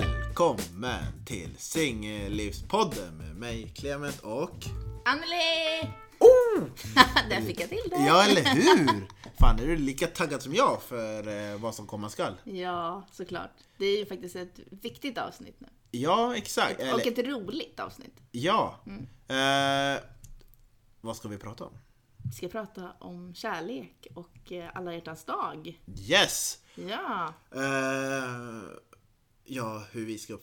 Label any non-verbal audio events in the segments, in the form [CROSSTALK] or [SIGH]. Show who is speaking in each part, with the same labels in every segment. Speaker 1: välkommen till Singellivspodden med mig Clement och...
Speaker 2: Anneli! Ah,
Speaker 1: Oh!
Speaker 2: Där fick jag till det!
Speaker 1: Ja, eller hur? Fan, är du lika taggad som jag för eh, vad som komma skall?
Speaker 2: Ja, såklart. Det är ju faktiskt ett viktigt avsnitt nu.
Speaker 1: Ja, exakt. Eller,
Speaker 2: Och ett roligt avsnitt.
Speaker 1: Ja.
Speaker 2: Mm.
Speaker 1: Eh, vad ska vi prata om?
Speaker 2: Vi ska prata om kärlek och eh, alla hjärtans dag.
Speaker 1: Yes!
Speaker 2: Ja,
Speaker 1: Eh, ja, hur vi ska...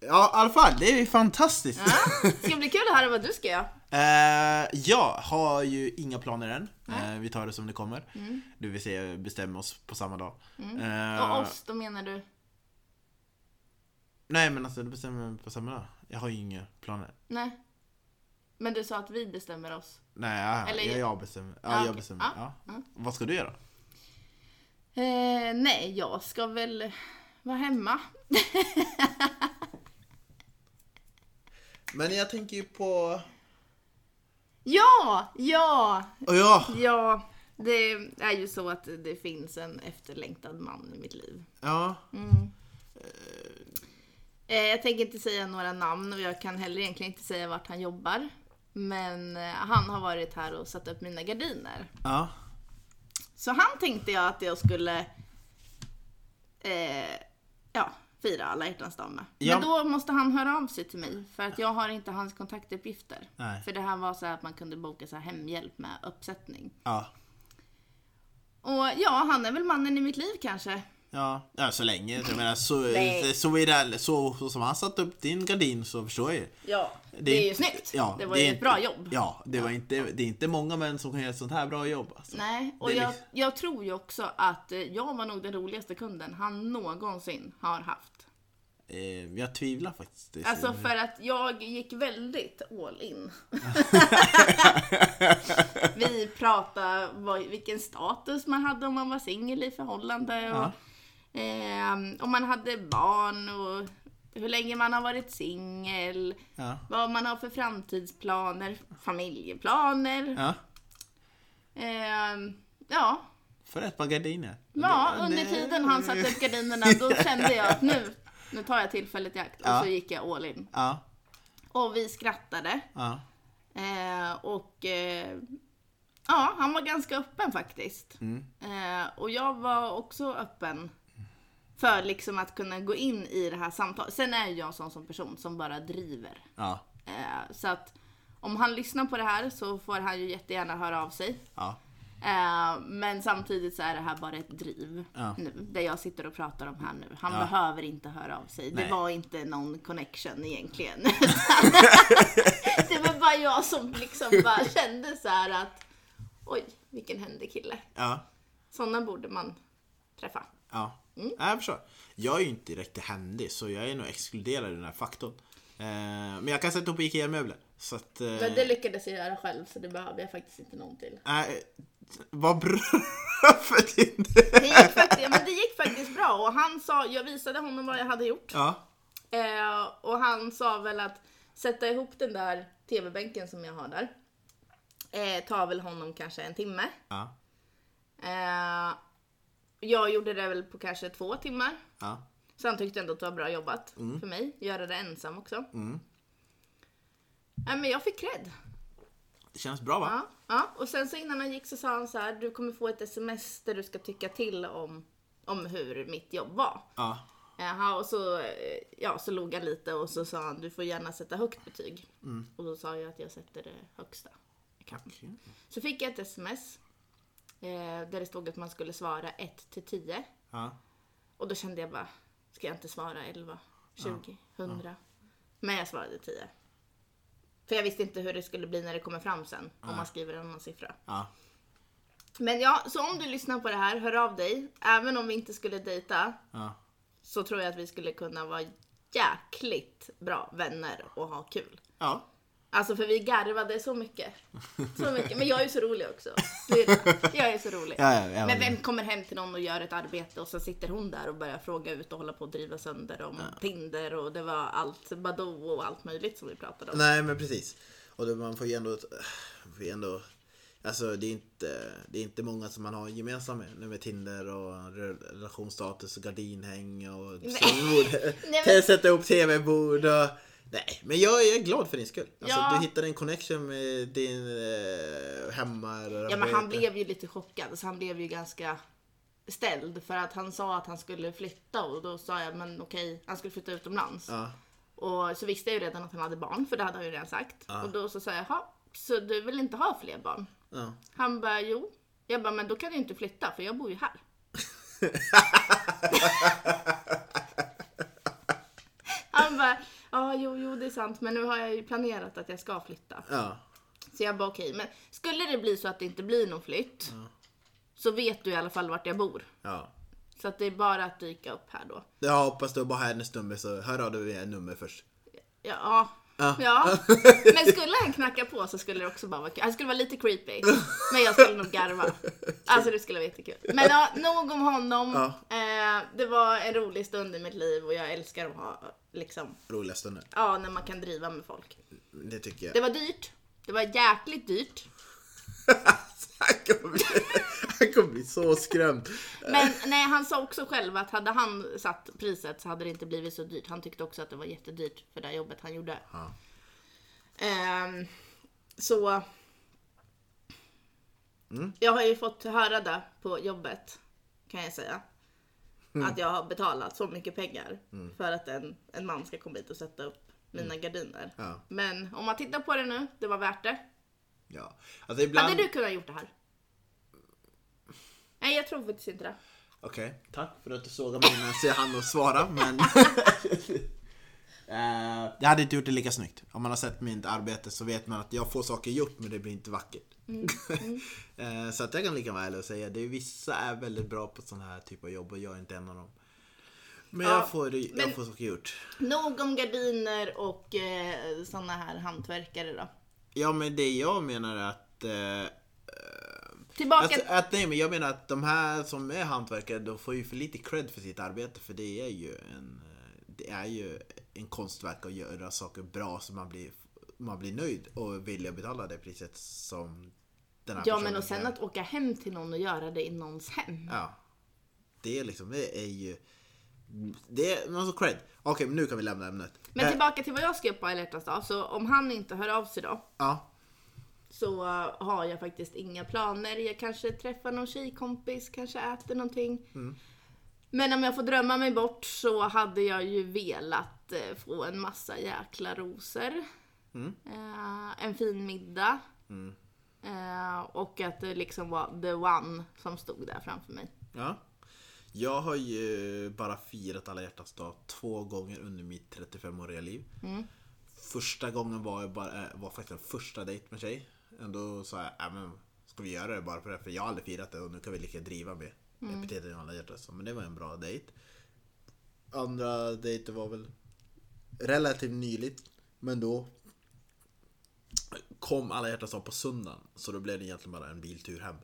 Speaker 1: Ja, i alla fall, det är ju fantastiskt!
Speaker 2: ja. Ah, det ska bli kul att höra vad du ska göra.
Speaker 1: Eh, jag har ju inga planer än. Eh, vi tar det som det kommer.
Speaker 2: Mm.
Speaker 1: Det vill säga bestämma oss på samma dag. Eh,
Speaker 2: Och oss, då menar du?
Speaker 1: Nej men alltså det bestämmer vi på samma dag. Jag har ju inga planer.
Speaker 2: Nej. Men du sa att vi bestämmer oss.
Speaker 1: Nej, ja,
Speaker 2: Eller-
Speaker 1: jag, jag bestämmer. Ja,
Speaker 2: Ah,
Speaker 1: jag
Speaker 2: okej.
Speaker 1: bestämmer.
Speaker 2: Ah,
Speaker 1: Ja. Vad ska du göra?
Speaker 2: Eh, nej, jag ska väl vara hemma.
Speaker 1: Men jag tänker ju på...
Speaker 2: Ja, ja,
Speaker 1: Oh, ja!
Speaker 2: ja. Det är ju så att det finns en efterlängtad man i mitt liv.
Speaker 1: Ja.
Speaker 2: Eh, Jag tänker inte säga några namn och jag kan heller egentligen inte säga vart han jobbar. Men eh, han har varit här och satt upp mina gardiner.
Speaker 1: ja.
Speaker 2: Så han tänkte jag att jag skulle eh, ja, fira alla hjärtans dag med.
Speaker 1: Ja.
Speaker 2: Men då måste han höra av sig till mig för att jag har inte hans kontaktuppgifter.
Speaker 1: Nej.
Speaker 2: För det här var så här att man kunde boka så här hemhjälp med uppsättning.
Speaker 1: Ja.
Speaker 2: Och ja, han är väl mannen i mitt liv kanske.
Speaker 1: Ja, ja så länge. Jag menar, så,
Speaker 2: Nej.
Speaker 1: så, är det, så, så som han satt upp din gardin så förstår jag ju.
Speaker 2: Ja, det, är ju snyggt.
Speaker 1: Ja,
Speaker 2: det var ju
Speaker 1: är
Speaker 2: ett bra jobb.
Speaker 1: Ja, det, Var inte, det är inte många män som kan göra ett sånt här bra jobb. Alltså.
Speaker 2: Nej, och
Speaker 1: Det är
Speaker 2: jag,
Speaker 1: liksom-
Speaker 2: jag tror ju också att eh, jag var nog den roligaste kunden han någonsin har haft.
Speaker 1: Eh, jag tvivlar faktiskt. Det är så-
Speaker 2: Alltså för att jag gick väldigt
Speaker 1: [LAUGHS]
Speaker 2: all in. Vi pratade vad, vilken status man hade om man var singel i förhållande och ehm, om man hade barn och hur länge man har varit singel.
Speaker 1: Ja.
Speaker 2: Vad man har för framtidsplaner, familjeplaner.
Speaker 1: ja,
Speaker 2: Ehm, ja,
Speaker 1: för ett par gardiner.
Speaker 2: Ja,
Speaker 1: Det-
Speaker 2: under
Speaker 1: det-
Speaker 2: tiden han satte upp gardinerna då kände jag att nu, nu tar jag tillfället i akt. Och
Speaker 1: Ja.
Speaker 2: så gick jag all in.
Speaker 1: Ja,
Speaker 2: Och vi skrattade.
Speaker 1: ja.
Speaker 2: Eh, och eh, ja, han var ganska öppen faktiskt. Eh, och jag var också öppen för liksom att kunna gå in i det här samtalet. Sen är ju jag en sån som person som bara driver.
Speaker 1: Ja,
Speaker 2: Eh, så att om han lyssnar på det här så får han ju jättegärna höra av sig.
Speaker 1: ja,
Speaker 2: Eh, Men samtidigt så är det här bara ett driv
Speaker 1: Ja.
Speaker 2: nu, det jag sitter och pratar om här nu. Han behöver inte höra av sig.
Speaker 1: Nej.
Speaker 2: Det var inte någon
Speaker 1: [LAUGHS]
Speaker 2: connection egentligen. [LAUGHS] det var bara jag som liksom bara kände så här att oj, vilken händig kille.
Speaker 1: ja.
Speaker 2: Sådana borde man träffa.
Speaker 1: ja.
Speaker 2: Mm.
Speaker 1: ja jag förstår. Jag är ju inte direkt händig så jag är nog exkluderad i den här faktorn. Eh, men jag kan sätta upp IKEA-möbler. Så att... Eh,
Speaker 2: Men det lyckades jag göra själv så det behövde jag faktiskt inte någon till.
Speaker 1: nej, vad bra [LAUGHS] för din
Speaker 2: Det gick faktiskt, ja, men det gick faktiskt bra och han sa, jag visade honom vad jag hade gjort.
Speaker 1: Ja,
Speaker 2: Eh, och han sa väl att sätta ihop den där tv-bänken som jag har där. Eh, tar väl honom kanske en timme.
Speaker 1: ja,
Speaker 2: Eh, jag gjorde det väl på kanske två timmar.
Speaker 1: ja.
Speaker 2: Så han tyckte ändå att det var bra jobbat för mig. Göra det ensam också. Nej, men jag fick cred.
Speaker 1: Det känns bra va?
Speaker 2: Ja, ja. Och sen så innan han gick så sa han så här, du kommer få ett sms där du ska tycka till om, om hur mitt jobb var.
Speaker 1: Ja.
Speaker 2: Jaha, och så, eh, ja, så log han lite och så sa han du får gärna sätta högt betyg. Och då sa jag att jag sätter det högsta jag kan. Så fick jag ett sms eh, där det stod att man skulle svara 1 till 10.
Speaker 1: Ja.
Speaker 2: Och då kände jag bara, ska jag inte svara 11, 20, 100? Men jag svarade 10. För jag visste inte hur det skulle bli när det kommer fram sen, om man skriver en annan siffra.
Speaker 1: Ja.
Speaker 2: Men ja, så om du lyssnar på det här, hör av dig. Även om vi inte skulle dejta,
Speaker 1: Ja.
Speaker 2: så tror jag att vi skulle kunna vara jäkligt bra vänner och ha kul.
Speaker 1: Ja.
Speaker 2: Alltså för vi garvade så mycket. Så mycket. Men jag är ju så rolig också. Det är det. Jag är så rolig.
Speaker 1: Ja, ja, ja.
Speaker 2: Men vem kommer hem till någon och gör ett arbete och så sitter hon där och börjar fråga ut och hålla på att driva sönder om Tinder och det var allt, Badoo och allt möjligt som vi pratade om.
Speaker 1: Nej men precis. Och då, man får ju ändå... Får ju ändå Alltså det är, inte, det är inte många som man har gemensamt med. Nu med Tinder och re- relationsstatus och gardinhäng och [LAUGHS] skrivbord.
Speaker 2: Nej, men-
Speaker 1: T- Sätta ihop TV-bord och... Nej, men jag är glad för din skull. Alltså,
Speaker 2: Ja.
Speaker 1: Du hittade en connection med din eh, hemma...
Speaker 2: Ja men han blev ju lite chockad så han blev ju ganska ställd för att han sa att han skulle flytta och då sa jag men okej, han skulle flytta utomlands.
Speaker 1: Ja.
Speaker 2: Och så visste jag ju redan att han hade barn för det hade han ju redan sagt. Och då så sa jag, jaha, så du vill inte ha fler barn?
Speaker 1: ja.
Speaker 2: Han bara, jo. Jag bara, men då kan du inte flytta för jag bor ju här. han bara, ja jo, jo det är sant men nu har jag ju planerat att jag ska flytta.
Speaker 1: ja.
Speaker 2: Så jag bara okej, men skulle det bli så att det inte blir någon flytt så vet du i alla fall vart jag bor.
Speaker 1: ja.
Speaker 2: Så att det är bara att dyka upp här då.
Speaker 1: Jag hoppas du bara har hennes nummer så hör av dig via nummer först.
Speaker 2: Ja.
Speaker 1: Ja.
Speaker 2: Ja. Men skulle han knacka på så skulle det också bara vara kul. Det skulle vara lite creepy. Men jag skulle nog garva. Alltså det skulle vara jättekul. Men ja, nog om honom. Eh, det var en rolig stund i mitt liv och jag älskar att ha liksom,
Speaker 1: Roliga stunder.
Speaker 2: ja när man kan driva med folk.
Speaker 1: Det tycker jag.
Speaker 2: Det var dyrt. Det var jäkligt dyrt.
Speaker 1: [LAUGHS] han, kommer bli, han kommer bli så skrämd.
Speaker 2: Men nej, han sa också själv att hade han satt priset så hade det inte blivit så dyrt. Han tyckte också att det var jättedyrt för det här jobbet han gjorde.
Speaker 1: Ja.
Speaker 2: Ehm, så...
Speaker 1: Mm.
Speaker 2: Jag har ju fått höra det på jobbet, kan jag säga.
Speaker 1: Mm.
Speaker 2: Att jag har betalat så mycket pengar för att en, en man ska komma hit och sätta upp mina gardiner.
Speaker 1: Mm. Ja.
Speaker 2: Men om man tittar på det nu, det var värt det.
Speaker 1: Ja. Mm. Alltså ibland...
Speaker 2: Hade du kunnat gjort det här? Nej, jag tror faktiskt inte det.
Speaker 1: Okej, tack för att du sågade mig innan så jag hann att svara men... [LAUGHS] Eh, jag hade inte gjort det lika snyggt. Om man har sett mitt arbete så vet man att jag får saker gjort men det blir inte vackert.
Speaker 2: Mm.
Speaker 1: [LAUGHS] Eh, så att jag kan lika väl och säga det är vissa är väldigt bra på sån här typ av jobb och jag är inte en av dem. Men
Speaker 2: Ja,
Speaker 1: jag, får, jag
Speaker 2: men-
Speaker 1: får saker gjort.
Speaker 2: Nog om gardiner och eh, såna här hantverkare då.
Speaker 1: Ja men det jag menar är att eh,
Speaker 2: Tillbaka
Speaker 1: Alltså, att, nej, men jag menar att de här som är hantverkare, de får ju för lite cred för sitt arbete. För det är ju en, eh, det är ju en konstverk att göra saker bra så man blir, man blir nöjd och vill att betala det priset som den här
Speaker 2: Ja
Speaker 1: personen
Speaker 2: men och sen
Speaker 1: gör.
Speaker 2: att åka hem till någon och göra det i någons hem.
Speaker 1: Ja. Det är liksom, det är ju... Det är någon sorts cred. Okej, men nu kan vi lämna ämnet.
Speaker 2: Men typ-
Speaker 1: Eh,
Speaker 2: tillbaka till vad jag skrev på alla hjärtans dag. Så om han inte hör av sig då
Speaker 1: ja.
Speaker 2: så eh, har jag faktiskt inga planer. Jag kanske träffar någon tjejkompis, kanske äter någonting.
Speaker 1: Mm.
Speaker 2: Men om jag får drömma mig bort så hade jag ju velat eh, få en massa jäkla rosor.
Speaker 1: Mm.
Speaker 2: Eh, en fin middag. Eh, och att det liksom var the one som stod där framför mig.
Speaker 1: Ja. Jag har ju bara firat alla hjärtans dag två gånger under mitt 35-åriga liv. Första gången var, jag bara, eh, var faktiskt en första dejt med tjej. Och då sa jag, "Äh, men ska vi göra det bara för det? För jag har aldrig firat det och nu kan vi lika driva med epitetet alla hjärtans dag. Men det var en bra dejt. Andra dejten var väl relativt nyligt. Men då kom alla hjärtans dag på söndagen. Så då blev det egentligen bara en biltur hem.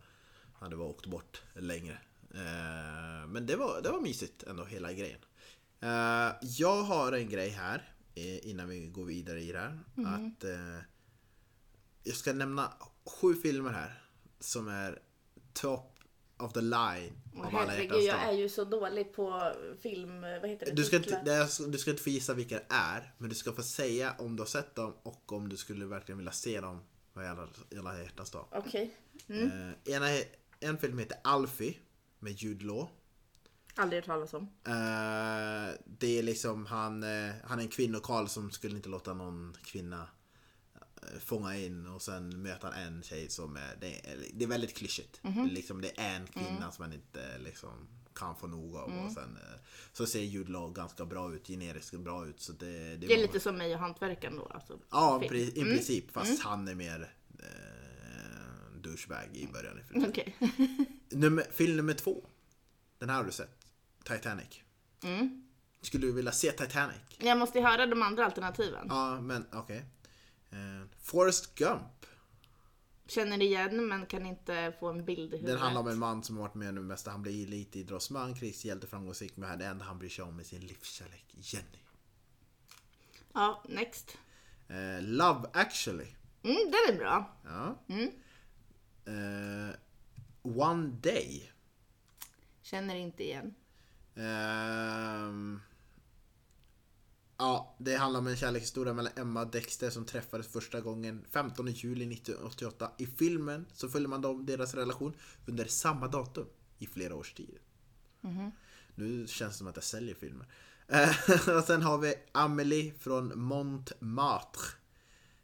Speaker 1: Hade bara åkt bort längre. Eh, Men det var, det var mysigt ändå, hela grejen. Eh, Jag har en grej här eh, innan vi går vidare i det här.
Speaker 2: Mhm.
Speaker 1: Att eh, jag ska nämna sju filmer här som är top of the line
Speaker 2: Och
Speaker 1: av alla
Speaker 2: herregud,
Speaker 1: hjärtans
Speaker 2: jag är
Speaker 1: dag.
Speaker 2: ju så dålig på film... Vad heter det?
Speaker 1: Du ska,
Speaker 2: Titlar.
Speaker 1: inte, det är- du ska inte få gissa vilka det är, men du ska få säga om du har sett dem och om du skulle verkligen vilja se dem vad gäller alla hjärtans dag.
Speaker 2: Okej.
Speaker 1: Eh, ena är, en film heter Alfie med Jude Law.
Speaker 2: Aldrig hört talas om.
Speaker 1: Eh, det är liksom han, eh, han är en kvinnokarl som skulle inte låta någon kvinna eh, fånga in och sen möter han en tjej som är, det är, det är väldigt klyschigt.
Speaker 2: Mhm.
Speaker 1: Liksom, det är en kvinna
Speaker 2: Mm.
Speaker 1: som han inte liksom, kan få nog av. Och sen, eh, så ser Jude Law ganska bra ut, generiskt bra ut. Så det,
Speaker 2: Det är lite som mig och hantverkaren då alltså.
Speaker 1: Ja,
Speaker 2: Film.
Speaker 1: pre- i princip. Fast
Speaker 2: Mm.
Speaker 1: han är mer eh, douchebag
Speaker 2: Mm.
Speaker 1: i början. i filmen.
Speaker 2: [LAUGHS] Okej.
Speaker 1: Nummer, film nummer två. Den här har du sett. Titanic. Skulle du vilja se Titanic?
Speaker 2: Jag måste ju höra de andra alternativen.
Speaker 1: Ja, men okej. Eh, Forrest Gump.
Speaker 2: Känner igen men kan inte få en bild i huvudet.
Speaker 1: Den handlar om en man som har varit med om det mesta. Han blir elitidrottsman, krigshjälte, framgångsrik. Men det enda han bryr sig om är sin livskärlek Jenny.
Speaker 2: Ja, next.
Speaker 1: Eh, Love actually.
Speaker 2: Mm, den är bra.
Speaker 1: Ja. Eh, One Day.
Speaker 2: Känner inte igen.
Speaker 1: Ehm, ja, det handlar om en kärlekshistoria mellan Emma och Dexter som träffades första gången 15 juli 1988. I filmen så följer man dem, deras relation under samma datum i flera års tid. Nu känns det som att jag säljer filmer. Eh, [LAUGHS] och sen har vi Amelie från Montmartre.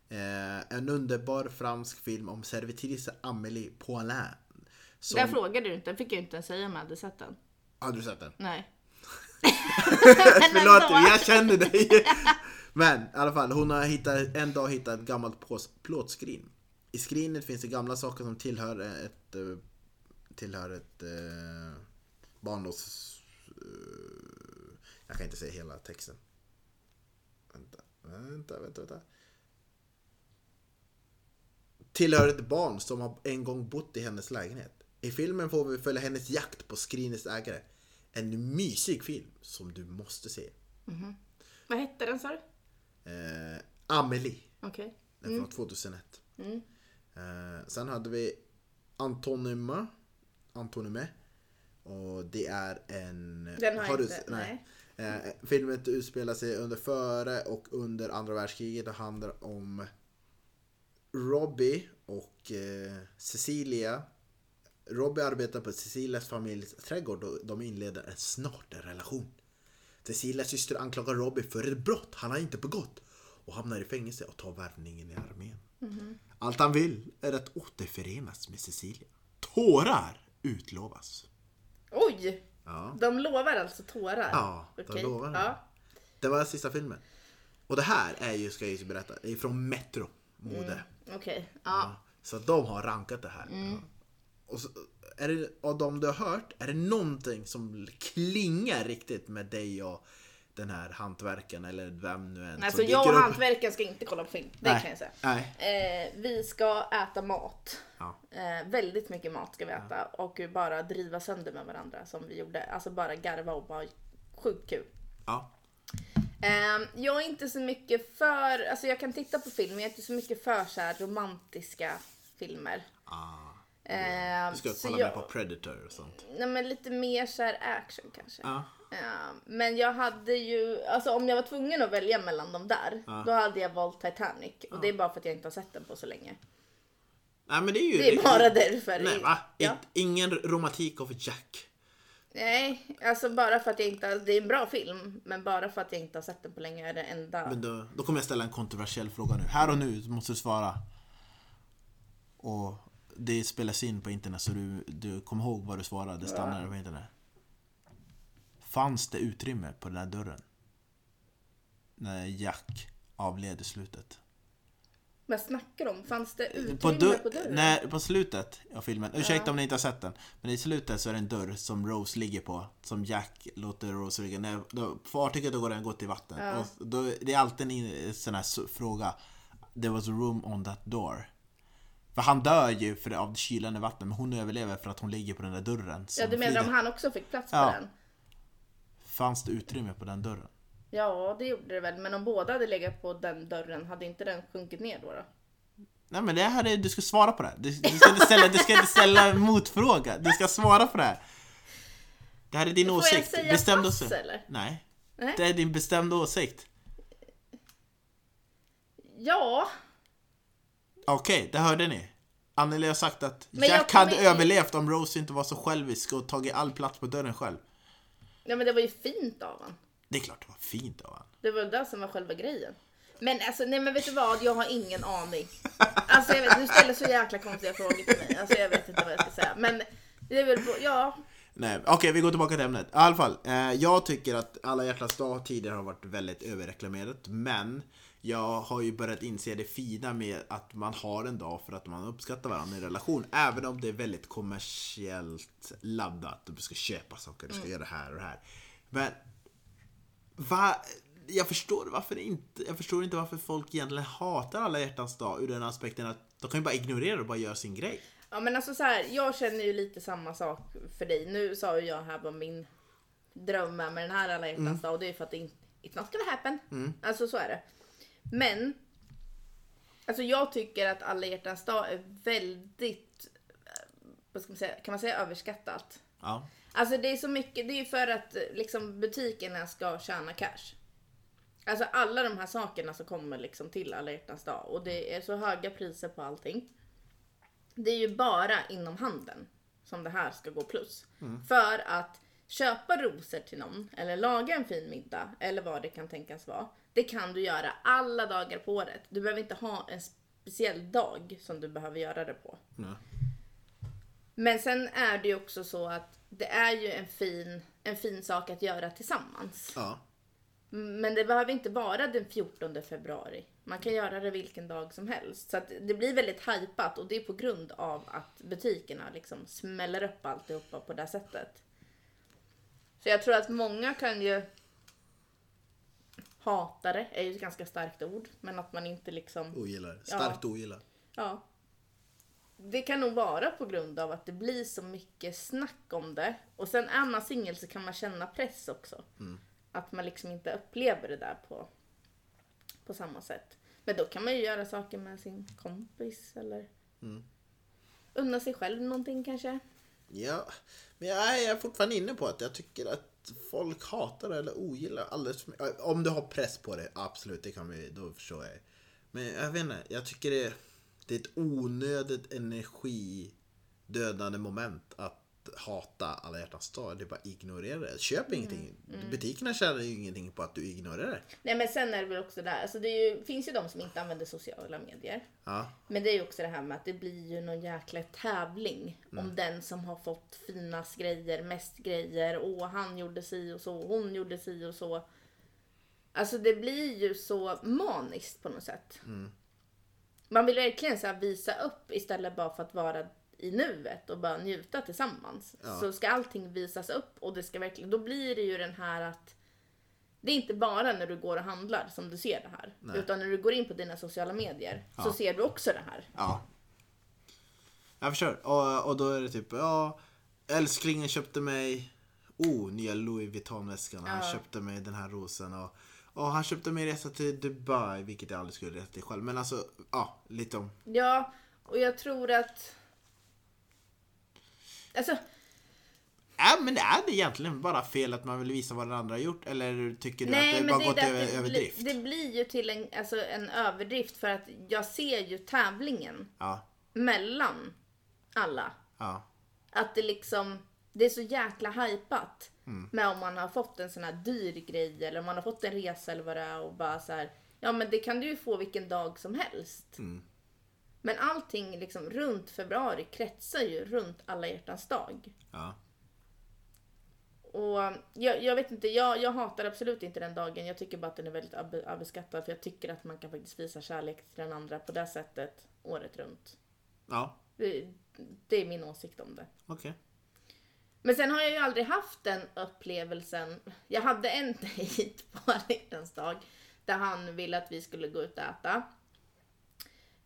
Speaker 1: Eh, en underbar fransk film om servitrisen Amelie Poulain. Som...
Speaker 2: Där frågade du inte, jag fick ju inte ens säga om jag hade sett den.
Speaker 1: Har du sett den?
Speaker 2: Nej.
Speaker 1: Förlåt,
Speaker 2: ändå.
Speaker 1: jag känner dig. [LAUGHS] Men i alla fall, hon har hittat, en dag hittat ett gammalt pås- plåtskrin. I skrinet finns det gamla saker som tillhör ett, eh, tillhör ett eh, barndoms... eh, Jag kan inte säga hela texten. Vänta, vänta, vänta. vänta. Tillhör ett barn som har en gång bott i hennes lägenhet. I filmen får vi följa hennes jakt på skrinets ägare. En mysig film som du måste se.
Speaker 2: Vad hette den sa du?
Speaker 1: Eh, Amelie.
Speaker 2: Okej.
Speaker 1: Den
Speaker 2: Mm.
Speaker 1: från 2001. Eh, sen hade vi Antonyma. Antonyme. Och det är en...
Speaker 2: Den har jag
Speaker 1: du-
Speaker 2: inte,
Speaker 1: nej. Eh, filmen utspelar sig under före och under andra världskriget och handlar om Robbie och eh, Cecilia. Robbie arbetar på Cecilias familjs trädgård och de inleder en snart en relation. Cecilias syster anklagar Robbie för ett brott han har inte begått och hamnar i fängelse och tar värvningen i armén.
Speaker 2: Mhm.
Speaker 1: Allt han vill är att återförenas med Cecilia. Tårar utlovas.
Speaker 2: Oj!
Speaker 1: Ja.
Speaker 2: De lovar alltså tårar?
Speaker 1: Ja, de
Speaker 2: Okej.
Speaker 1: lovar det.
Speaker 2: Ja.
Speaker 1: Det var sista filmen. Och det här är ju, ska jag ju berätta, är från Metro Mode.
Speaker 2: Okej. Ja.
Speaker 1: Ja, Så att de har rankat det här.
Speaker 2: Mm.
Speaker 1: Ja. Och så, är det, av de du har hört, är det någonting som klingar riktigt med dig och den här hantverkaren eller vem nu än
Speaker 2: Alltså jag och hantverkaren ska inte kolla på film. Det
Speaker 1: Nej,
Speaker 2: kan jag säga.
Speaker 1: nej.
Speaker 2: Eh, vi ska äta mat.
Speaker 1: Ja.
Speaker 2: Eh, väldigt mycket mat ska vi äta och bara driva sönder med varandra som vi gjorde. Alltså bara garva och bara sjukt kul.
Speaker 1: Ja.
Speaker 2: Ehm, jag är inte så mycket för, alltså jag kan titta på film men jag är inte så mycket för så här romantiska filmer.
Speaker 1: Ah.
Speaker 2: Ehm,
Speaker 1: Du ska
Speaker 2: så
Speaker 1: kolla
Speaker 2: jag-
Speaker 1: mer på Predator och sånt.
Speaker 2: Nej men lite mer så här action kanske.
Speaker 1: Ja.
Speaker 2: Ja, men jag hade ju, alltså om jag var tvungen att välja mellan de där, då hade jag valt Titanic. Och det är bara för att jag inte har sett den på så länge.
Speaker 1: Nej men det är ju...
Speaker 2: Det är bara därför.
Speaker 1: Nej va?
Speaker 2: Ja.
Speaker 1: Inte- Ingen romantik av Jack.
Speaker 2: Nej, alltså bara för att jag inte, har- det är en bra film, men bara för att jag inte har sett den på länge är det enda.
Speaker 1: Men då, då kommer jag ställa en kontroversiell fråga nu. Här och nu måste du svara. Och det spelas in på internet så du, du kommer ihåg vad du svarade. Det stannar på internet. Fanns det utrymme på den där dörren? När Jack avled i slutet.
Speaker 2: Vad snackar du om? Fanns det utrymme
Speaker 1: På,
Speaker 2: på,
Speaker 1: dörr,
Speaker 2: dörren?
Speaker 1: nej, på slutet av filmen. Ursäkta om ni inte har sett den. Men i slutet så är det en dörr som Rose ligger på. Som Jack låter Rose ligga. När då, fartyget går den gått i vatten. Och då, det är alltid en in- sån här s- fråga. There was room on that door. För han dör ju för, av kylan i vattnet. Men hon överlever för att hon ligger på den där dörren.
Speaker 2: Ja,
Speaker 1: som
Speaker 2: du menar om
Speaker 1: flyger.
Speaker 2: han också fick plats
Speaker 1: Ja.
Speaker 2: på den?
Speaker 1: Fanns det utrymme på den dörren?
Speaker 2: Ja, det gjorde det väl. Men om båda hade legat på den dörren, hade inte den sjunkit ner då? då?
Speaker 1: Nej men det här är, du ska svara på det här. Du, du, ska, inte ställa, du ska inte ställa en motfråga. Du ska svara på det här. Det här är din
Speaker 2: Får jag
Speaker 1: åsikt.
Speaker 2: säga
Speaker 1: Bestämd
Speaker 2: pass,
Speaker 1: åsikt.
Speaker 2: eller?
Speaker 1: Nej.
Speaker 2: Nej.
Speaker 1: Det är din bestämda åsikt.
Speaker 2: Ja,
Speaker 1: Okej, det hörde ni. Anneli har sagt att
Speaker 2: Men jag
Speaker 1: Jack
Speaker 2: kommer
Speaker 1: hade
Speaker 2: in-
Speaker 1: överlevt om Rose inte var så självisk och tagit all plats på dörren själv.
Speaker 2: ja, men det var ju fint av honom.
Speaker 1: Det är klart det var fint av honom.
Speaker 2: Det var det som var själva grejen. Men alltså, nej men vet du vad? Jag har ingen aning. Alltså jag vet, du ställer så jäkla konstiga frågor till mig. Alltså jag vet inte vad jag ska säga. Men det är väl, ja.
Speaker 1: Nej, okej vi går tillbaka till ämnet. I alla fall, eh, jag tycker att Alla hjärtans dag tidigare har varit väldigt överreklamerat. Men jag har ju börjat inse det fina med att man har en dag för att man uppskattar varandra i en relation. Även om det är väldigt kommersiellt laddat. Du ska köpa saker, du ska göra det här och det här. Men Va? Jag förstår varför det inte, jag förstår inte varför folk egentligen hatar alla hjärtans dag ur den aspekten att de kan ju bara ignorera det och bara göra sin grej.
Speaker 2: Ja men alltså så här, jag känner ju lite samma sak för dig. Nu sa ju jag här vad min dröm är med den här alla hjärtans dag och det är för att det inte it's not gonna happen. Alltså så är det. Men, alltså jag tycker att alla hjärtans dag är väldigt vad ska man säga, kan man säga överskattat?
Speaker 1: Ja.
Speaker 2: Alltså det är så mycket, det är ju för att eh, liksom butikerna ska tjäna cash. Alltså alla de här sakerna som kommer liksom till alla hjärtans dag och det är så höga priser på allting. Det är ju bara inom handeln som det här ska gå plus. För att köpa rosor till någon eller laga en fin middag eller vad det kan tänkas vara. Det kan du göra alla dagar på året. Du behöver inte ha en speciell dag som du behöver göra det på.
Speaker 1: Ja.
Speaker 2: Men sen är det ju också så att det är ju en fin, en fin sak att göra tillsammans.
Speaker 1: ja.
Speaker 2: Men det behöver inte vara den 14 februari. Man kan göra det vilken dag som helst. Så att det blir väldigt hajpat och det är på grund av att butikerna liksom smäller upp alltihopa på det här sättet. Så jag tror att många kan ju hata det, är ju ett ganska starkt ord, men att man inte liksom
Speaker 1: Ogillar. Starkt ogillar.
Speaker 2: Ja. Det kan nog vara på grund av att det blir så mycket snack om det. Och sen är man singel så kan man känna press också. Att man liksom inte upplever det där på, på samma sätt. Men då kan man ju göra saker med sin kompis eller unna sig själv någonting kanske.
Speaker 1: Ja, men jag är fortfarande inne på att jag tycker att folk hatar det eller ogillar alldeles för mycket. Om du har press på dig, absolut, det kan vi, då förstår jag. Men jag vet inte, jag tycker det, det är ett onödigt energidödande moment att hata alla hjärtans dag. Det är bara ignorera det. Köp ingenting. Butikerna tjänar ju ingenting på att du ignorerar det.
Speaker 2: Nej men sen är det väl också det här, alltså det är ju, finns ju de som inte använder sociala medier.
Speaker 1: Ja,
Speaker 2: Men det är ju också det här med att det blir ju någon jäkla tävling om den som har fått finast grejer, mest grejer. Åh, han gjorde si och så, hon gjorde si och så. Alltså det blir ju så maniskt på något sätt. Man vill verkligen så här visa upp istället bara för att vara i nuet och bara njuta tillsammans. Så ska allting visas upp och det ska verkligen, då blir det ju den här att det är inte bara när du går och handlar som du ser det här. Utan när du går in på dina sociala medier så ser du också det här.
Speaker 1: Ja. Jag förstår. Och, och då är det typ, ja, älsklingen köpte mig, oh, nya Louis Vuitton-väskan. Han köpte mig den här rosen. Och, och han köpte mig resa till Dubai, vilket jag aldrig skulle resa till själv. Men alltså, ja, lite om.
Speaker 2: Ja, och jag tror att... Alltså,
Speaker 1: Ja, men det är det egentligen bara fel att man vill visa vad den andra har gjort? Eller tycker du
Speaker 2: nej
Speaker 1: att det
Speaker 2: men
Speaker 1: bara
Speaker 2: det,
Speaker 1: gått
Speaker 2: är
Speaker 1: över,
Speaker 2: det, att det, blir,
Speaker 1: överdrift?
Speaker 2: det blir ju till en, alltså, en överdrift för att jag ser ju tävlingen
Speaker 1: Ja,
Speaker 2: mellan alla.
Speaker 1: ja,
Speaker 2: Att det liksom, det är så jäkla hajpat
Speaker 1: Mm.
Speaker 2: med om man har fått en sån här dyr grej eller om man har fått en resa eller vad det är och bara så här, ja men det kan du ju få vilken dag som helst.
Speaker 1: Mm.
Speaker 2: Men allting liksom runt februari kretsar ju runt alla hjärtans dag.
Speaker 1: ja.
Speaker 2: Och jag, jag vet inte, jag, jag hatar absolut inte den dagen. Jag tycker bara att den är väldigt ab- överskattad. För jag tycker att man kan faktiskt visa kärlek till den andra på det sättet året runt.
Speaker 1: Ja,
Speaker 2: Det, det är min åsikt om det.
Speaker 1: okej.
Speaker 2: Men sen har jag ju aldrig haft den upplevelsen. Jag hade en [LAUGHS] dejt på Alla hjärtans dag där han ville att vi skulle gå ut och äta.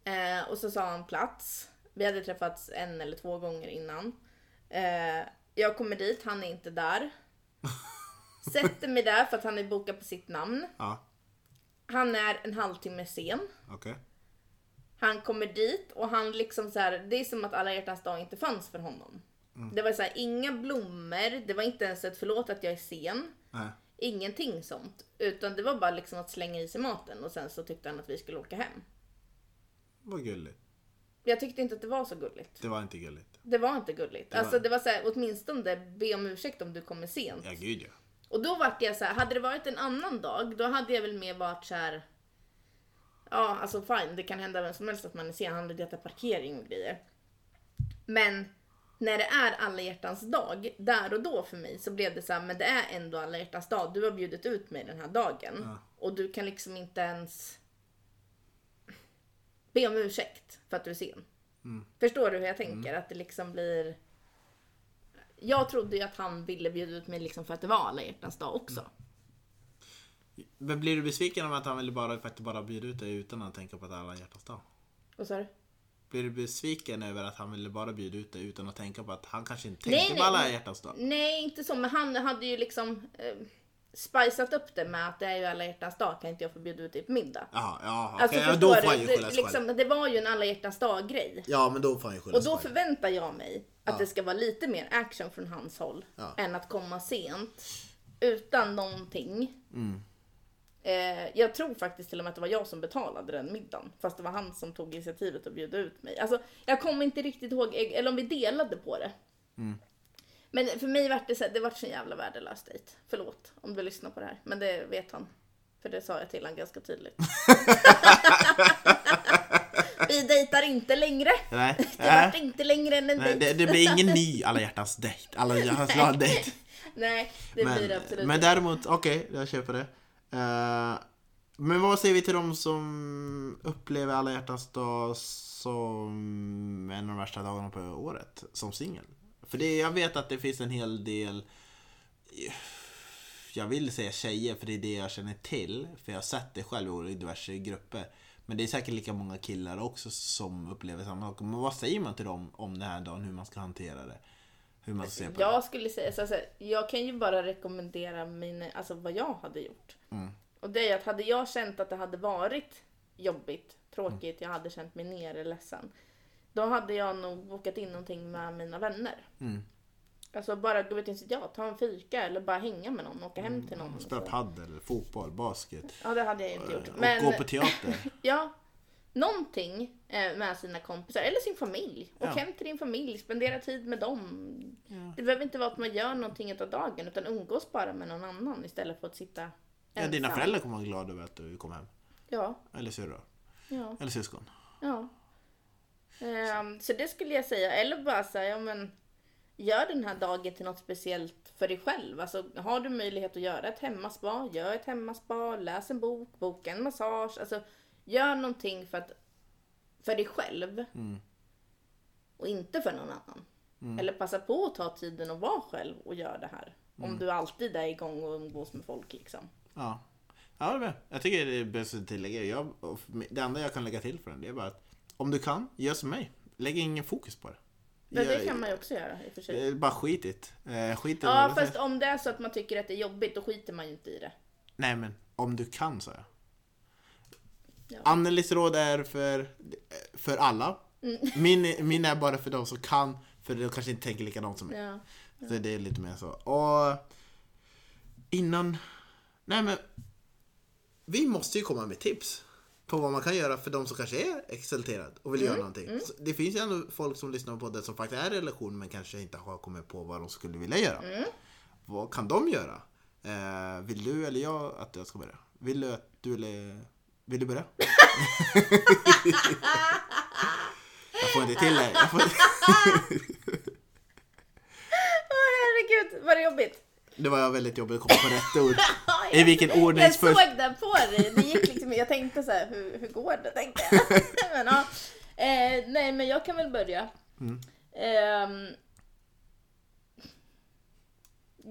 Speaker 2: Eh, och så sa han plats. Vi hade träffats en eller två gånger innan. Eh, jag kommer dit, han är inte där. Sätter mig där för att han är bokad på sitt namn.
Speaker 1: Ja,
Speaker 2: Han är en halvtimme sen.
Speaker 1: okej.
Speaker 2: Han kommer dit och han liksom så här, det är som att alla hjärtans dag inte fanns för honom. Det var så här, inga blommor, det var inte ens ett förlåt att jag är sen.
Speaker 1: Nej.
Speaker 2: Ingenting sånt. Utan det var bara liksom att slänga i sig maten och sen så tyckte han att vi skulle åka hem.
Speaker 1: Vad gulligt.
Speaker 2: Jag tyckte inte att det var så gulligt.
Speaker 1: Det var inte gulligt.
Speaker 2: Det var inte gulligt. Alltså det var så här, åtminstone be om ursäkt om du kommer sent.
Speaker 1: Ja, gud ja.
Speaker 2: Och då vart jag så här, hade det varit en annan dag, då hade jag väl mer varit så här. Ja, alltså fine, det kan hända vem som helst att man är sen, han hade letat parkering och grejer. Men när det är alla hjärtans dag, där och då för mig, så blev det så här, men det är ändå alla hjärtans dag, du har bjudit ut mig den här dagen. Och du kan liksom inte ens be om ursäkt för att du är sen. Förstår du hur jag tänker? Att det liksom blir... Jag trodde ju att han ville bjuda ut mig liksom för att det var alla hjärtans dag också.
Speaker 1: Men blir du besviken om att han ville bara, faktiskt bara bjuda ut dig utan att tänka på att alla hjärtans dag?
Speaker 2: Vad sa du?
Speaker 1: Blir du besviken över att han ville bara bjuda ut dig utan att tänka på att han kanske inte
Speaker 2: Nej,
Speaker 1: tänkte
Speaker 2: nej,
Speaker 1: på alla
Speaker 2: nej.
Speaker 1: hjärtans dag?
Speaker 2: Nej, inte så, men han hade ju liksom... Eh, spiceat upp det med att det är ju alla hjärtans dag, kan inte jag få bjuda ut dig på middag?
Speaker 1: Jaha, ja, okej.
Speaker 2: Alltså
Speaker 1: ja, då
Speaker 2: förstår
Speaker 1: får han
Speaker 2: du?
Speaker 1: ju
Speaker 2: Det,
Speaker 1: skylla sig
Speaker 2: liksom,
Speaker 1: själv.
Speaker 2: det var ju en alla hjärtans dag grej.
Speaker 1: Ja, men då får han ju skylla
Speaker 2: Och
Speaker 1: sig
Speaker 2: då
Speaker 1: själv.
Speaker 2: förväntar jag mig att
Speaker 1: Alltså. Ja.
Speaker 2: det ska vara lite mer action från hans håll.
Speaker 1: Ja.
Speaker 2: Än att komma sent. Utan någonting.
Speaker 1: Mm.
Speaker 2: Eh, jag tror faktiskt till och med att det var jag som betalade den middagen. Fast det var han som tog initiativet och bjöd ut mig. Alltså, jag kommer inte riktigt ihåg, eller om vi delade på det.
Speaker 1: Mm.
Speaker 2: Men för mig vart det så här, det vart så jävla värdelös dejt. Förlåt om du lyssnar på det här. Men det vet han. För det sa jag till honom
Speaker 1: [LAUGHS]
Speaker 2: ganska tydligt. vi dejtar inte längre.
Speaker 1: Nej,
Speaker 2: [LAUGHS] Det vart inte längre än en
Speaker 1: nej,
Speaker 2: dejt.
Speaker 1: det, det blir ingen ny alla hjärtans dejt.
Speaker 2: [LAUGHS]
Speaker 1: Alla hjärtans glada dejt.
Speaker 2: Nej, det blir det absolut
Speaker 1: Men, men
Speaker 2: inte.
Speaker 1: däremot, okej, jag köper det. Eh, men vad säger vi till de som upplever alla hjärtans dag som en av de värsta dagarna på året som singel? För det, jag vet att det finns en hel del jag vill säga tjejer för det är det jag känner till. För jag har sett det själv i diverse grupper. Men det är säkert lika många killar också som upplever samma sak. Men vad säger man till dem om den här dagen? Hur man ska hantera det? Hur man ska se på det?
Speaker 2: Jag skulle säga så här, så här, jag kan ju bara rekommendera min, alltså vad jag hade gjort.
Speaker 1: Mm.
Speaker 2: Och det är att hade jag känt att det hade varit jobbigt, tråkigt, jag hade känt mig nere, ledsen. Då hade jag nog bokat in någonting med mina vänner.
Speaker 1: Mm.
Speaker 2: Alltså bara gå ut i en ja, ta en fika eller bara hänga med någon, åka
Speaker 1: Mm.
Speaker 2: hem till någon. och
Speaker 1: Spela
Speaker 2: så.
Speaker 1: padel, fotboll, basket.
Speaker 2: Ja, det hade jag ju inte gjort.
Speaker 1: Och gå på teater.
Speaker 2: [LAUGHS] Ja. Någonting eh, med sina kompisar eller sin familj. Åk
Speaker 1: Ja.
Speaker 2: hem till din familj, spendera tid med dem. Det behöver inte vara att man gör någonting utav dagen utan umgås bara med någon annan istället för att sitta
Speaker 1: Ja, dina
Speaker 2: ensam.
Speaker 1: föräldrar kommer vara glada över att du kom hem.
Speaker 2: Ja,
Speaker 1: Eller syrra.
Speaker 2: ja,
Speaker 1: Eller syskon.
Speaker 2: ja. Ehm, så det skulle jag säga. Eller bara säga, ja men gör den här dagen till något speciellt för dig själv. Alltså har du möjlighet att göra ett hemmaspa, gör ett hemmaspa, läs en bok, boka en massage. Alltså gör någonting för att för dig själv och inte för någon annan. Eller passa på att ta tiden och vara själv och göra det här. Om du alltid är igång och umgås med folk liksom.
Speaker 1: Ja. Ja, det är bra. Jag tycker det är bäst att tillägga. Jag, och det enda jag kan lägga till för den det är bara att om du kan, gör som mig. Lägg ingen fokus på det.
Speaker 2: Men det
Speaker 1: Gör-
Speaker 2: kan man ju också göra i och för sig.
Speaker 1: Eh, Bara skit i det. Eh, Skit i vad
Speaker 2: Ja
Speaker 1: det
Speaker 2: fast
Speaker 1: sägs.
Speaker 2: om det är så att man tycker att det är jobbigt då skiter man ju inte i det.
Speaker 1: Nej men, om du kan sa jag.
Speaker 2: Ja.
Speaker 1: Annelies råd är för, eh, för alla.
Speaker 2: Mm.
Speaker 1: Min, min är bara för de som kan, för de kanske inte tänker likadant
Speaker 2: [LAUGHS]
Speaker 1: som mig.
Speaker 2: Ja.
Speaker 1: Så det är lite mer så. Och innan... Nej men... Vi måste ju komma med tips på vad man kan göra för de som kanske är exalterad och vill göra någonting. Så Det finns ju ändå folk som lyssnar på det som faktiskt är i relation men kanske inte har kommit på vad de skulle vilja göra. Vad kan de göra? Eh, vill du eller jag att jag ska börja? Vill du att du eller... Vill du börja? jag får inte till det. Jag får...
Speaker 2: Åh herregud vad det är jobbigt.
Speaker 1: Det var väldigt jobbigt att komma på rätt ord.
Speaker 2: [LAUGHS] Ja,
Speaker 1: I vilken
Speaker 2: Jag
Speaker 1: ordningsföljd?
Speaker 2: såg den på dig. Det gick liksom, jag tänkte så här, hur, hur går det? Tänkte jag. [LAUGHS] men, ja. eh, nej, men jag kan väl börja. Ehm,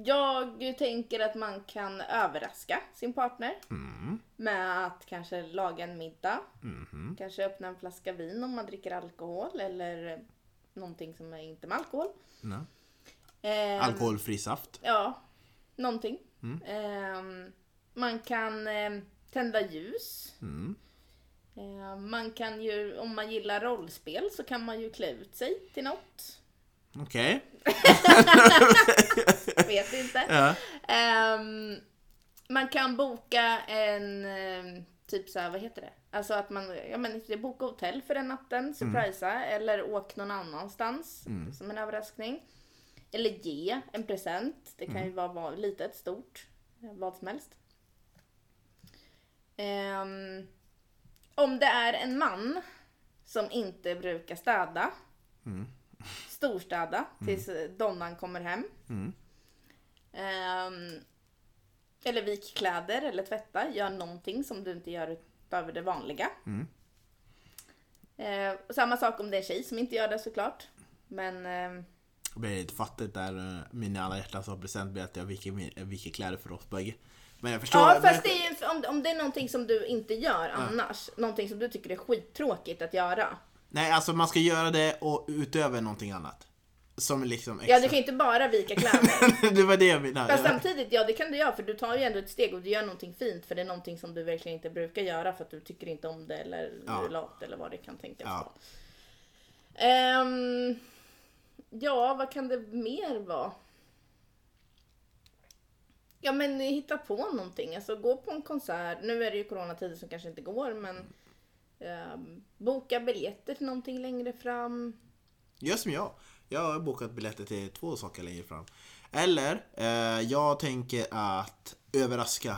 Speaker 2: jag tänker att man kan överraska sin partner med att kanske laga en middag. Kanske öppna en flaska vin om man dricker alkohol eller någonting som är inte med alkohol.
Speaker 1: Nej.
Speaker 2: Ehm,
Speaker 1: Alkoholfri saft.
Speaker 2: Ja, någonting. Ehm, man kan ehm, tända ljus.
Speaker 1: Mm.
Speaker 2: Ehm, man kan ju, om man gillar rollspel så kan man ju klä ut sig till något.
Speaker 1: Okej.
Speaker 2: [LAUGHS] Vet inte.
Speaker 1: Ja.
Speaker 2: Ehm, man kan boka en, ehm, typ så här, vad heter det? Alltså att man, ja men det är boka hotell för den natten, surprisa, eller åk någon annanstans som en överraskning. Eller ge en present, det kan ju vara vad, litet, stort, vad som helst. Ehm, om det är en man som inte brukar städa, storstäda tills eh, donnan kommer hem. Ehm, eller vik kläder eller tvätta. Gör någonting som du inte gör utöver det vanliga. Ehm, och samma sak om det är en tjej som inte gör det såklart. Men ehm,
Speaker 1: Det blir lite fattigt där eh, min alla hjärtans har present blir att jag viker, min- eh, viker kläder för oss bägge. Men jag förstår.
Speaker 2: ja,
Speaker 1: men,
Speaker 2: fast det är ju, om, om det är någonting som du inte gör annars. Någonting som du tycker är skittråkigt att göra.
Speaker 1: Nej, alltså man ska göra det och utöver någonting annat. Som liksom
Speaker 2: Ja,
Speaker 1: extra.
Speaker 2: du kan ju inte bara vika
Speaker 1: [LAUGHS]
Speaker 2: kläder.
Speaker 1: det var det jag menade.
Speaker 2: Fast samtidigt, [LAUGHS] ja det kan du göra för du tar ju ändå ett steg och du gör någonting fint för det är någonting som du verkligen inte brukar göra för att du tycker inte om det eller
Speaker 1: Ja.
Speaker 2: du är lat eller vad det kan tänkas
Speaker 1: Ja.
Speaker 2: vara. Ehm, ja, vad kan det mer vara? Ja men hitta på någonting, alltså gå på en konsert. Nu är det ju coronatider som kanske inte går men ehm, boka biljetter till någonting längre fram.
Speaker 1: Gör som jag. Jag har bokat biljetter till två saker längre fram. Eller, eh, jag tänker att överraska.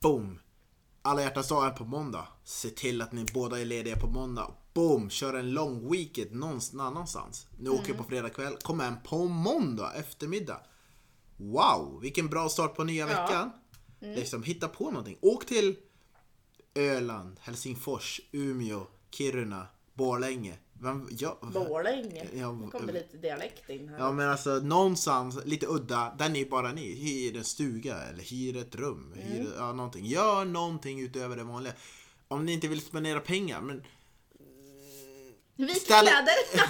Speaker 1: Boom! Alla hjärtans dag är på måndag. Se till att ni båda är lediga på måndag. Boom! Kör en lång weekend någon annanstans. Nu åker jag på fredag kväll. Kom hem på måndag eftermiddag. Wow! Vilken bra start på nya veckan. Liksom, hitta på någonting. Åk till Öland, Helsingfors, Umeå, Kiruna, Borlänge. Vem, ja,
Speaker 2: Borlänge.
Speaker 1: Ja,
Speaker 2: Nu kommer lite dialekt in här.
Speaker 1: ja men alltså någonstans lite udda, där ni bara ni. Hyr en stuga eller hyr ett rum.
Speaker 2: Mm.
Speaker 1: Hyr, ja, någonting. Gör någonting utöver det vanliga. Om ni inte vill spendera pengar, men
Speaker 2: Vik
Speaker 1: Ställ-
Speaker 2: kläder!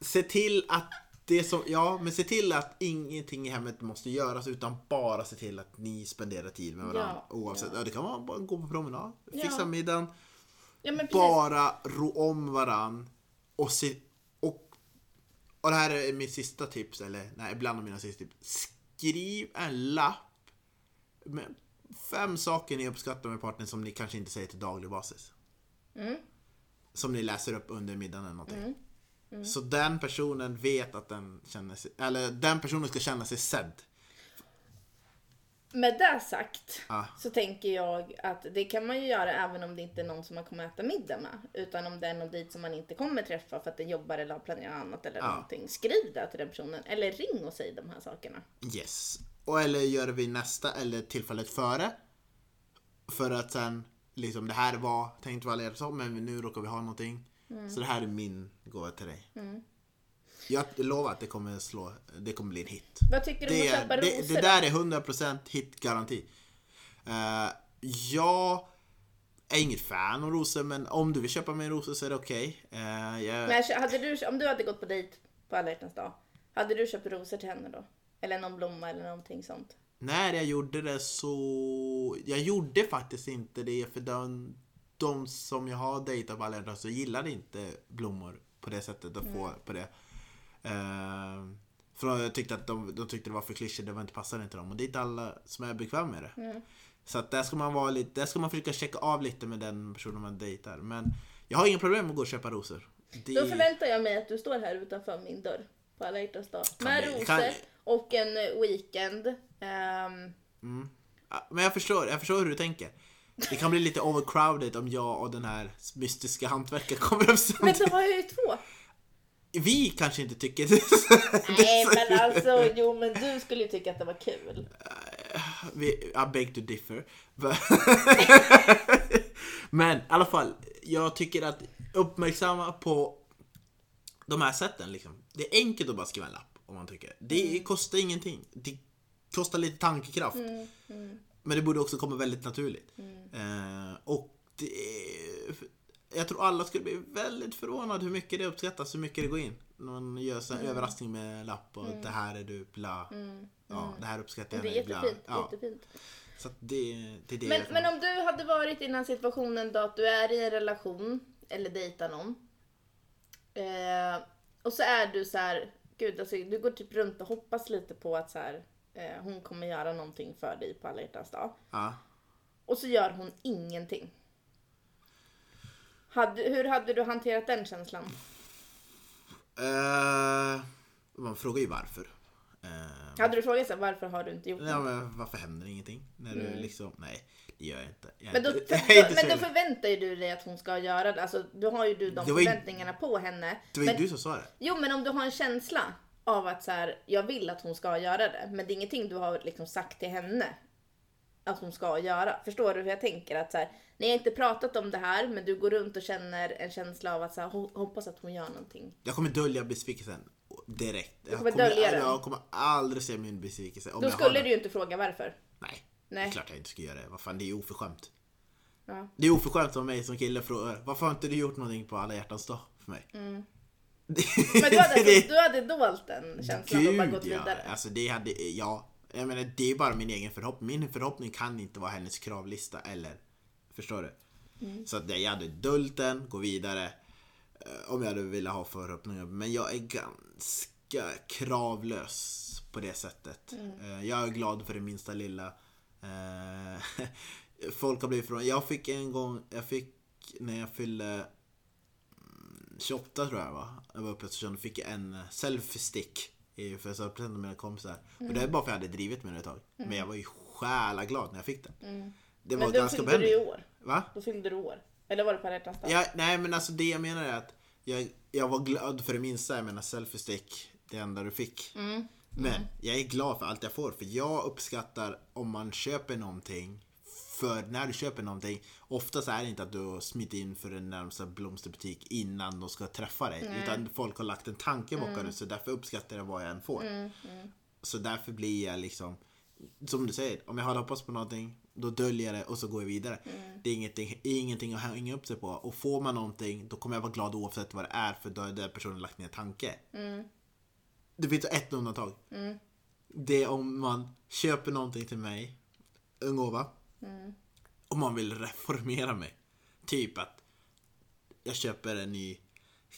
Speaker 1: se till att det som, ja, men se till att ingenting i hemmet måste göras utan bara se till att ni spenderar tid med varandra.
Speaker 2: Ja,
Speaker 1: Oavsett, ja. det kan vara bara gå på promenad,
Speaker 2: Ja.
Speaker 1: fixa middagen.
Speaker 2: Ja men precis.
Speaker 1: bara ro om varann och se och, och det här är mitt sista tips, eller nej, bland mina sista tips. Skriv en lapp med fem saker ni uppskattar med partnern som ni kanske inte säger till daglig basis.
Speaker 2: Mm.
Speaker 1: Som ni läser upp under middagen eller någonting.
Speaker 2: Mm.
Speaker 1: Så den personen vet att den känner sig, eller den personen ska känna sig sedd.
Speaker 2: Med det sagt
Speaker 1: Ah.
Speaker 2: så tänker jag att det kan man ju göra även om det inte är någon som man kommer äta middag med. Utan om det är någon dit som man inte kommer träffa för att den jobbar eller har planerat annat eller
Speaker 1: Ja.
Speaker 2: någonting. Skriv det till den personen eller ring och säg de här sakerna.
Speaker 1: Yes. Och eller gör det vid nästa eller tillfället före. För att sen, liksom det här var tänkt vara hjälpsamt men nu råkar vi ha någonting. Så det här är min gåva till dig.
Speaker 2: Mm.
Speaker 1: Jag lovar att det kommer slå, det kommer bli en hit.
Speaker 2: Vad tycker du om
Speaker 1: Det,
Speaker 2: att
Speaker 1: är-
Speaker 2: köpa
Speaker 1: det,
Speaker 2: rosor
Speaker 1: det
Speaker 2: då?
Speaker 1: där är 100% hitgaranti. Uh, jag är inget fan av rosor men om du vill köpa mig rosor så är det okej. Eh, jag-
Speaker 2: Men kö- hade du, om du hade gått på dejt på alla hjärtans dag, hade du köpt rosor till henne då? Eller någon blomma eller någonting sånt?
Speaker 1: När jag gjorde det så... Jag gjorde faktiskt inte det för den, de som jag har dejtat på alla hjärtans så gillade inte blommor på det sättet att få på det. Eh, för jag tyckte att de, de tyckte det var för klyschigt, det var inte passade inte dem. Och det är inte alla som är bekväma med det. Så att där ska man vara lite, där ska man försöka checka av lite med den personen man dejtar. Men jag har inga problem med att gå och köpa rosor. Det,
Speaker 2: Då förväntar jag mig att du står här utanför min dörr på alla hjärtans dag. Med
Speaker 1: vi-
Speaker 2: rosor
Speaker 1: kan-
Speaker 2: och en eh, weekend. Ehm,
Speaker 1: Ja, Men jag förstår, jag förstår hur du tänker. Det kan bli lite overcrowded om jag och den här mystiska hantverkaren kommer upp
Speaker 2: men
Speaker 1: samtidigt.
Speaker 2: då har jag ju två.
Speaker 1: Vi kanske inte tycker det.
Speaker 2: Nej men alltså, jo men du skulle ju tycka att det var kul.
Speaker 1: Vi, I beg to differ. But- [LAUGHS] Men i alla fall, jag tycker att uppmärksamma på de här sätten. Liksom. Det är enkelt att bara skriva en lapp om man tycker. Det
Speaker 2: Mm.
Speaker 1: kostar ingenting. Det kostar lite tankekraft.
Speaker 2: Mm,
Speaker 1: Men det borde också komma väldigt naturligt.
Speaker 2: Mm.
Speaker 1: Eh, och det är, jag tror alla skulle bli väldigt förvånade hur mycket det uppskattas, hur mycket det går in. När man gör sån
Speaker 2: Mm.
Speaker 1: här överraskning med lapp och det här är du, bla. Ja, det här uppskattar
Speaker 2: Mm. Och
Speaker 1: jag.
Speaker 2: det är
Speaker 1: bla.
Speaker 2: jättefint.
Speaker 1: Ja,
Speaker 2: jättefint.
Speaker 1: så att det, det är det
Speaker 2: Men,
Speaker 1: jag
Speaker 2: men om du hade varit i den här situationen då att du är i en relation eller dejtar någon. Eh, och så är du så här, gud alltså, du går typ runt och hoppas lite på att så här, eh, hon kommer göra någonting för dig på alla hjärtans dag.
Speaker 1: ja.
Speaker 2: Och så gör hon ingenting. Hade, hur hade du hanterat den känslan?
Speaker 1: Eh, Man frågar ju varför. Eh,
Speaker 2: Hade du frågat så här, varför har du inte gjort
Speaker 1: Ja,
Speaker 2: det?
Speaker 1: men varför händer ingenting? När du liksom, nej det gör jag inte. Jag är
Speaker 2: Mm. Men då,
Speaker 1: inte- [LAUGHS]
Speaker 2: för,
Speaker 1: jag är inte
Speaker 2: men
Speaker 1: så
Speaker 2: då
Speaker 1: jävla-
Speaker 2: förväntar ju du dig att hon ska göra det. Alltså, då har ju du de
Speaker 1: Det var ju-
Speaker 2: förväntningarna på henne.
Speaker 1: Det var ju
Speaker 2: Men,
Speaker 1: du som sa det.
Speaker 2: Jo, men om du har en känsla av att så här, jag vill att hon ska göra det. Men det är ingenting du har liksom sagt till henne att hon ska göra. Förstår du hur jag tänker? Att så här, ni har inte pratat om det här, men du går runt och känner en känsla av att så här, ho- hoppas att hon gör någonting.
Speaker 1: Jag kommer dölja besvikelsen direkt. Jag
Speaker 2: kommer dölja den.
Speaker 1: Jag kommer aldrig se min besvikelse. Om
Speaker 2: Då
Speaker 1: jag har
Speaker 2: skulle
Speaker 1: den.
Speaker 2: du ju inte fråga varför.
Speaker 1: Nej.
Speaker 2: Nej.
Speaker 1: Det är klart jag inte ska göra det. Vad fan, det är ju oförskämt.
Speaker 2: Ja.
Speaker 1: [LAUGHS]
Speaker 2: Mm.
Speaker 1: [LAUGHS] Det är oförskämt av mig som kille frågar varför har inte du gjort någonting på alla hjärtans dag för mig?
Speaker 2: Men du hade, alltså- du hade dolt den känslan och bara gått
Speaker 1: ja.
Speaker 2: vidare.
Speaker 1: Alltså det hade, ja. Jag menar, det är bara min egen förhoppning. Min förhoppning kan inte vara hennes kravlista eller... Förstår du?
Speaker 2: Mm.
Speaker 1: Så att jag hade dolt den, gå vidare. eh, Om jag hade velat ha förhoppningar. Men jag är ganska kravlös på det sättet.
Speaker 2: Mm.
Speaker 1: Eh, Jag är glad för det minsta lilla. Eh, [LAUGHS] Folk har blivit från. Jag fick en gång, jag fick när jag fyllde 28 tror jag va? Jag var uppe i Östersund och fick en eh, selfie-stick i födelsedagspresent av mina kompisar. Och det är bara för att jag hade drivit med det ett tag. Men jag var ju själaglad när jag fick den. Det var
Speaker 2: Mm. Men då
Speaker 1: ganska
Speaker 2: fyllde du i
Speaker 1: behändigt.
Speaker 2: år.
Speaker 1: Va?
Speaker 2: Då fyllde du år. Eller var det på alla hjärtans dag?
Speaker 1: Ja, nej men alltså det jag menar är att jag, jag var glad för det minsta. Jag menar selfie-stick, det enda du fick. Men jag är glad för allt jag får. För jag uppskattar om man köper någonting. För när du köper någonting, oftast är det inte att du har smitt in för den närmsta blomsterbutik innan de ska träffa dig. Utan folk har lagt en tanke bakom det. Så därför uppskattar jag vad jag än får. Så därför blir jag liksom Som du säger, om jag hade hoppats på någonting Då döljer jag det och så går jag vidare Det är ingenting, ingenting att hänga upp sig på Och får man någonting då kommer jag vara glad oavsett vad det är För då har den personen lagt ner tanke Det finns ett undantag Det är om man köper någonting till mig En gåva Om man vill reformera mig Typ att jag köper en ny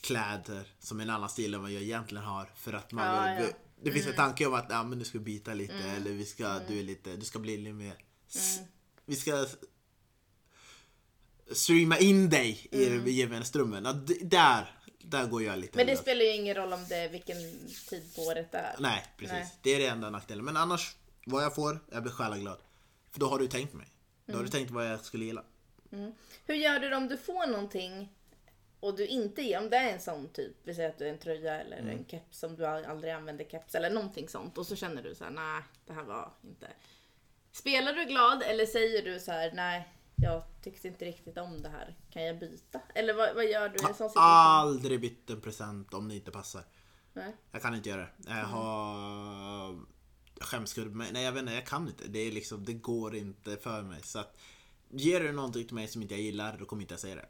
Speaker 1: kläder som är en annan stil än vad jag egentligen har för att man
Speaker 2: Ja,
Speaker 1: vill,
Speaker 2: ja. Mm.
Speaker 1: Det finns en tanke om att ja, men du ska byta lite eller vi ska, du, är lite, du ska bli lite mer s-
Speaker 2: Mm.
Speaker 1: Vi ska s- streama in dig i mm. gemenströmmen. Ja, d- där, där går jag lite
Speaker 2: Men det
Speaker 1: lös.
Speaker 2: spelar ju ingen roll om det är vilken tid på året det är.
Speaker 1: Alltså. Nej, precis.
Speaker 2: Nej.
Speaker 1: Det är det enda nackdelen. Men annars, vad jag får, jag blir själaglad. För då har du tänkt mig. Då har du tänkt vad jag skulle gilla.
Speaker 2: Hur gör du om du får någonting och du inte ger? Om det är en sån typ, vi säger att du är en tröja eller en keps som du aldrig använder keps eller någonting sånt och så känner du så här: nej det här var inte. Spelar du glad eller säger du så här: nej jag tyckte inte riktigt om det här, kan jag byta? Eller vad, vad gör du i en sån situation?
Speaker 1: Aldrig bytt en present om det inte passar.
Speaker 2: Nej.
Speaker 1: Jag kan inte göra det. Jag har skämskudde på mig. Nej jag vet inte, jag kan inte. Det, är liksom, det går inte för mig. Så att, ger du någonting till mig som inte jag gillar, då kommer inte jag säga det.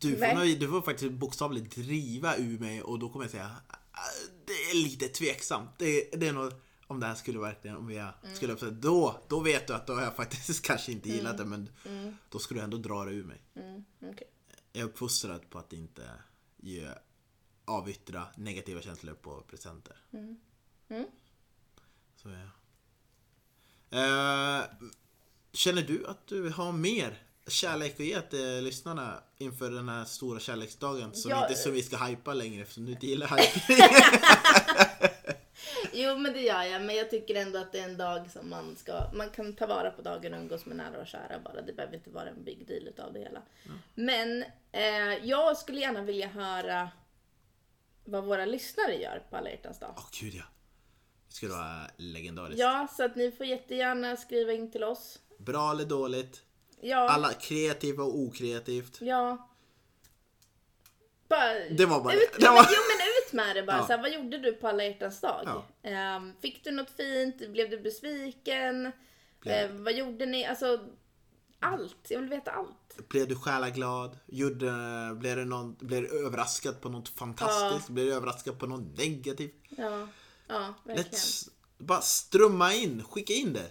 Speaker 1: Du får,
Speaker 2: Nej.
Speaker 1: nog- du får faktiskt bokstavligt driva ur mig och då kommer jag säga "Ah, det är lite tveksamt. Det, det är nog, om det här skulle verkligen, om jag skulle säga då, då vet du att då har jag faktiskt [LAUGHS] kanske inte gillat det men då skulle du ändå dra det ur mig.
Speaker 2: Mm, okej.
Speaker 1: Jag är uppfostrad på att inte ge, avyttra negativa känslor på presenter.
Speaker 2: Mm.
Speaker 1: Så ja. Eh, känner du att du har mer kärlek att ge till lyssnarna inför den här stora kärleksdagen? Som,
Speaker 2: Ja,
Speaker 1: inte, som vi ska hypa längre eftersom du inte gillar
Speaker 2: [LAUGHS]
Speaker 1: hype.
Speaker 2: Jo men det gör jag, men jag tycker ändå att det är en dag som man ska, man kan ta vara på dagen och umgås med nära och kära bara. Det behöver inte vara en big deal utav det hela. Men eh, jag skulle gärna vilja höra vad våra lyssnare gör på alla hjärtans dag.
Speaker 1: Åh gud ja. Det skulle vara legendariskt.
Speaker 2: Ja, så att ni får jättegärna skriva in till oss.
Speaker 1: Bra eller dåligt.
Speaker 2: Ja,
Speaker 1: Alla kreativa och okreativt.
Speaker 2: ja. Bara,
Speaker 1: Det var bara-
Speaker 2: ut,
Speaker 1: det
Speaker 2: ja,
Speaker 1: var-
Speaker 2: men, Jo men ut med det bara.
Speaker 1: Ja.
Speaker 2: Så här, vad gjorde du på alla hjärtans dag?
Speaker 1: Ja.
Speaker 2: Ehm, fick du något fint? Blev du besviken?
Speaker 1: Blev-
Speaker 2: Eh, vad gjorde ni? Alltså, allt. Jag vill veta allt.
Speaker 1: Blev du själaglad? Gjorde, blev, du någon, blev du överraskad på något fantastiskt? Blev du överraskad på något negativt?
Speaker 2: Ja, ja verkligen.
Speaker 1: Let's bara strömma in, skicka in det.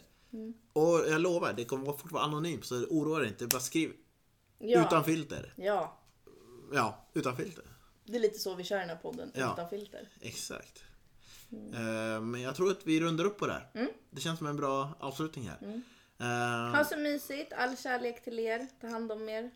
Speaker 1: Och jag lovar, det kommer fortfarande vara anonymt så oroa dig inte. Bara skriv
Speaker 2: Ja,
Speaker 1: utan filter.
Speaker 2: ja,
Speaker 1: Ja, utan filter.
Speaker 2: det är lite så vi kör den här podden.
Speaker 1: Ja.
Speaker 2: Utan filter.
Speaker 1: Exakt. Eh, Men jag tror att vi rundar upp på det här. Det känns som en bra avslutning här. Eh,
Speaker 2: Ha så mysigt. All kärlek till er. Ta hand om er.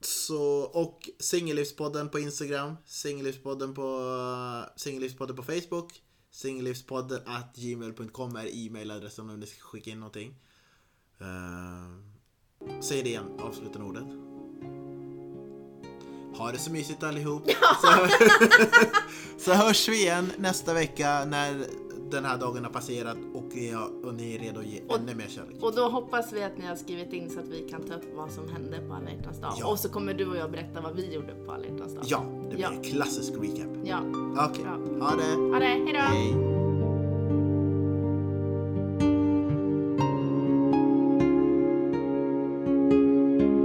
Speaker 1: Så, och Singellivspodden på Instagram, Singellivspodden på, Singellivspodden på Facebook, Singellivspodden at gmail.com är e-mailadressen om ni ska skicka in någonting. Eh, säg det igen, avslutande ordet. Ha det så mysigt allihop. Så, [LAUGHS] så hörs vi igen nästa vecka när den här dagen har passerat och, jag, och ni är redo att ge ännu mer kärlek.
Speaker 2: Och då hoppas vi att ni har skrivit in så att vi kan ta upp vad som hände på alla hjärtans dag.
Speaker 1: Ja.
Speaker 2: Och så kommer du och jag berätta vad vi gjorde på alla hjärtans dag.
Speaker 1: Ja, det blir
Speaker 2: Ja.
Speaker 1: en klassisk recap.
Speaker 2: Ja.
Speaker 1: Okej,
Speaker 2: Ja.
Speaker 1: ha det.
Speaker 2: Ha det, hejdå!
Speaker 1: Hej.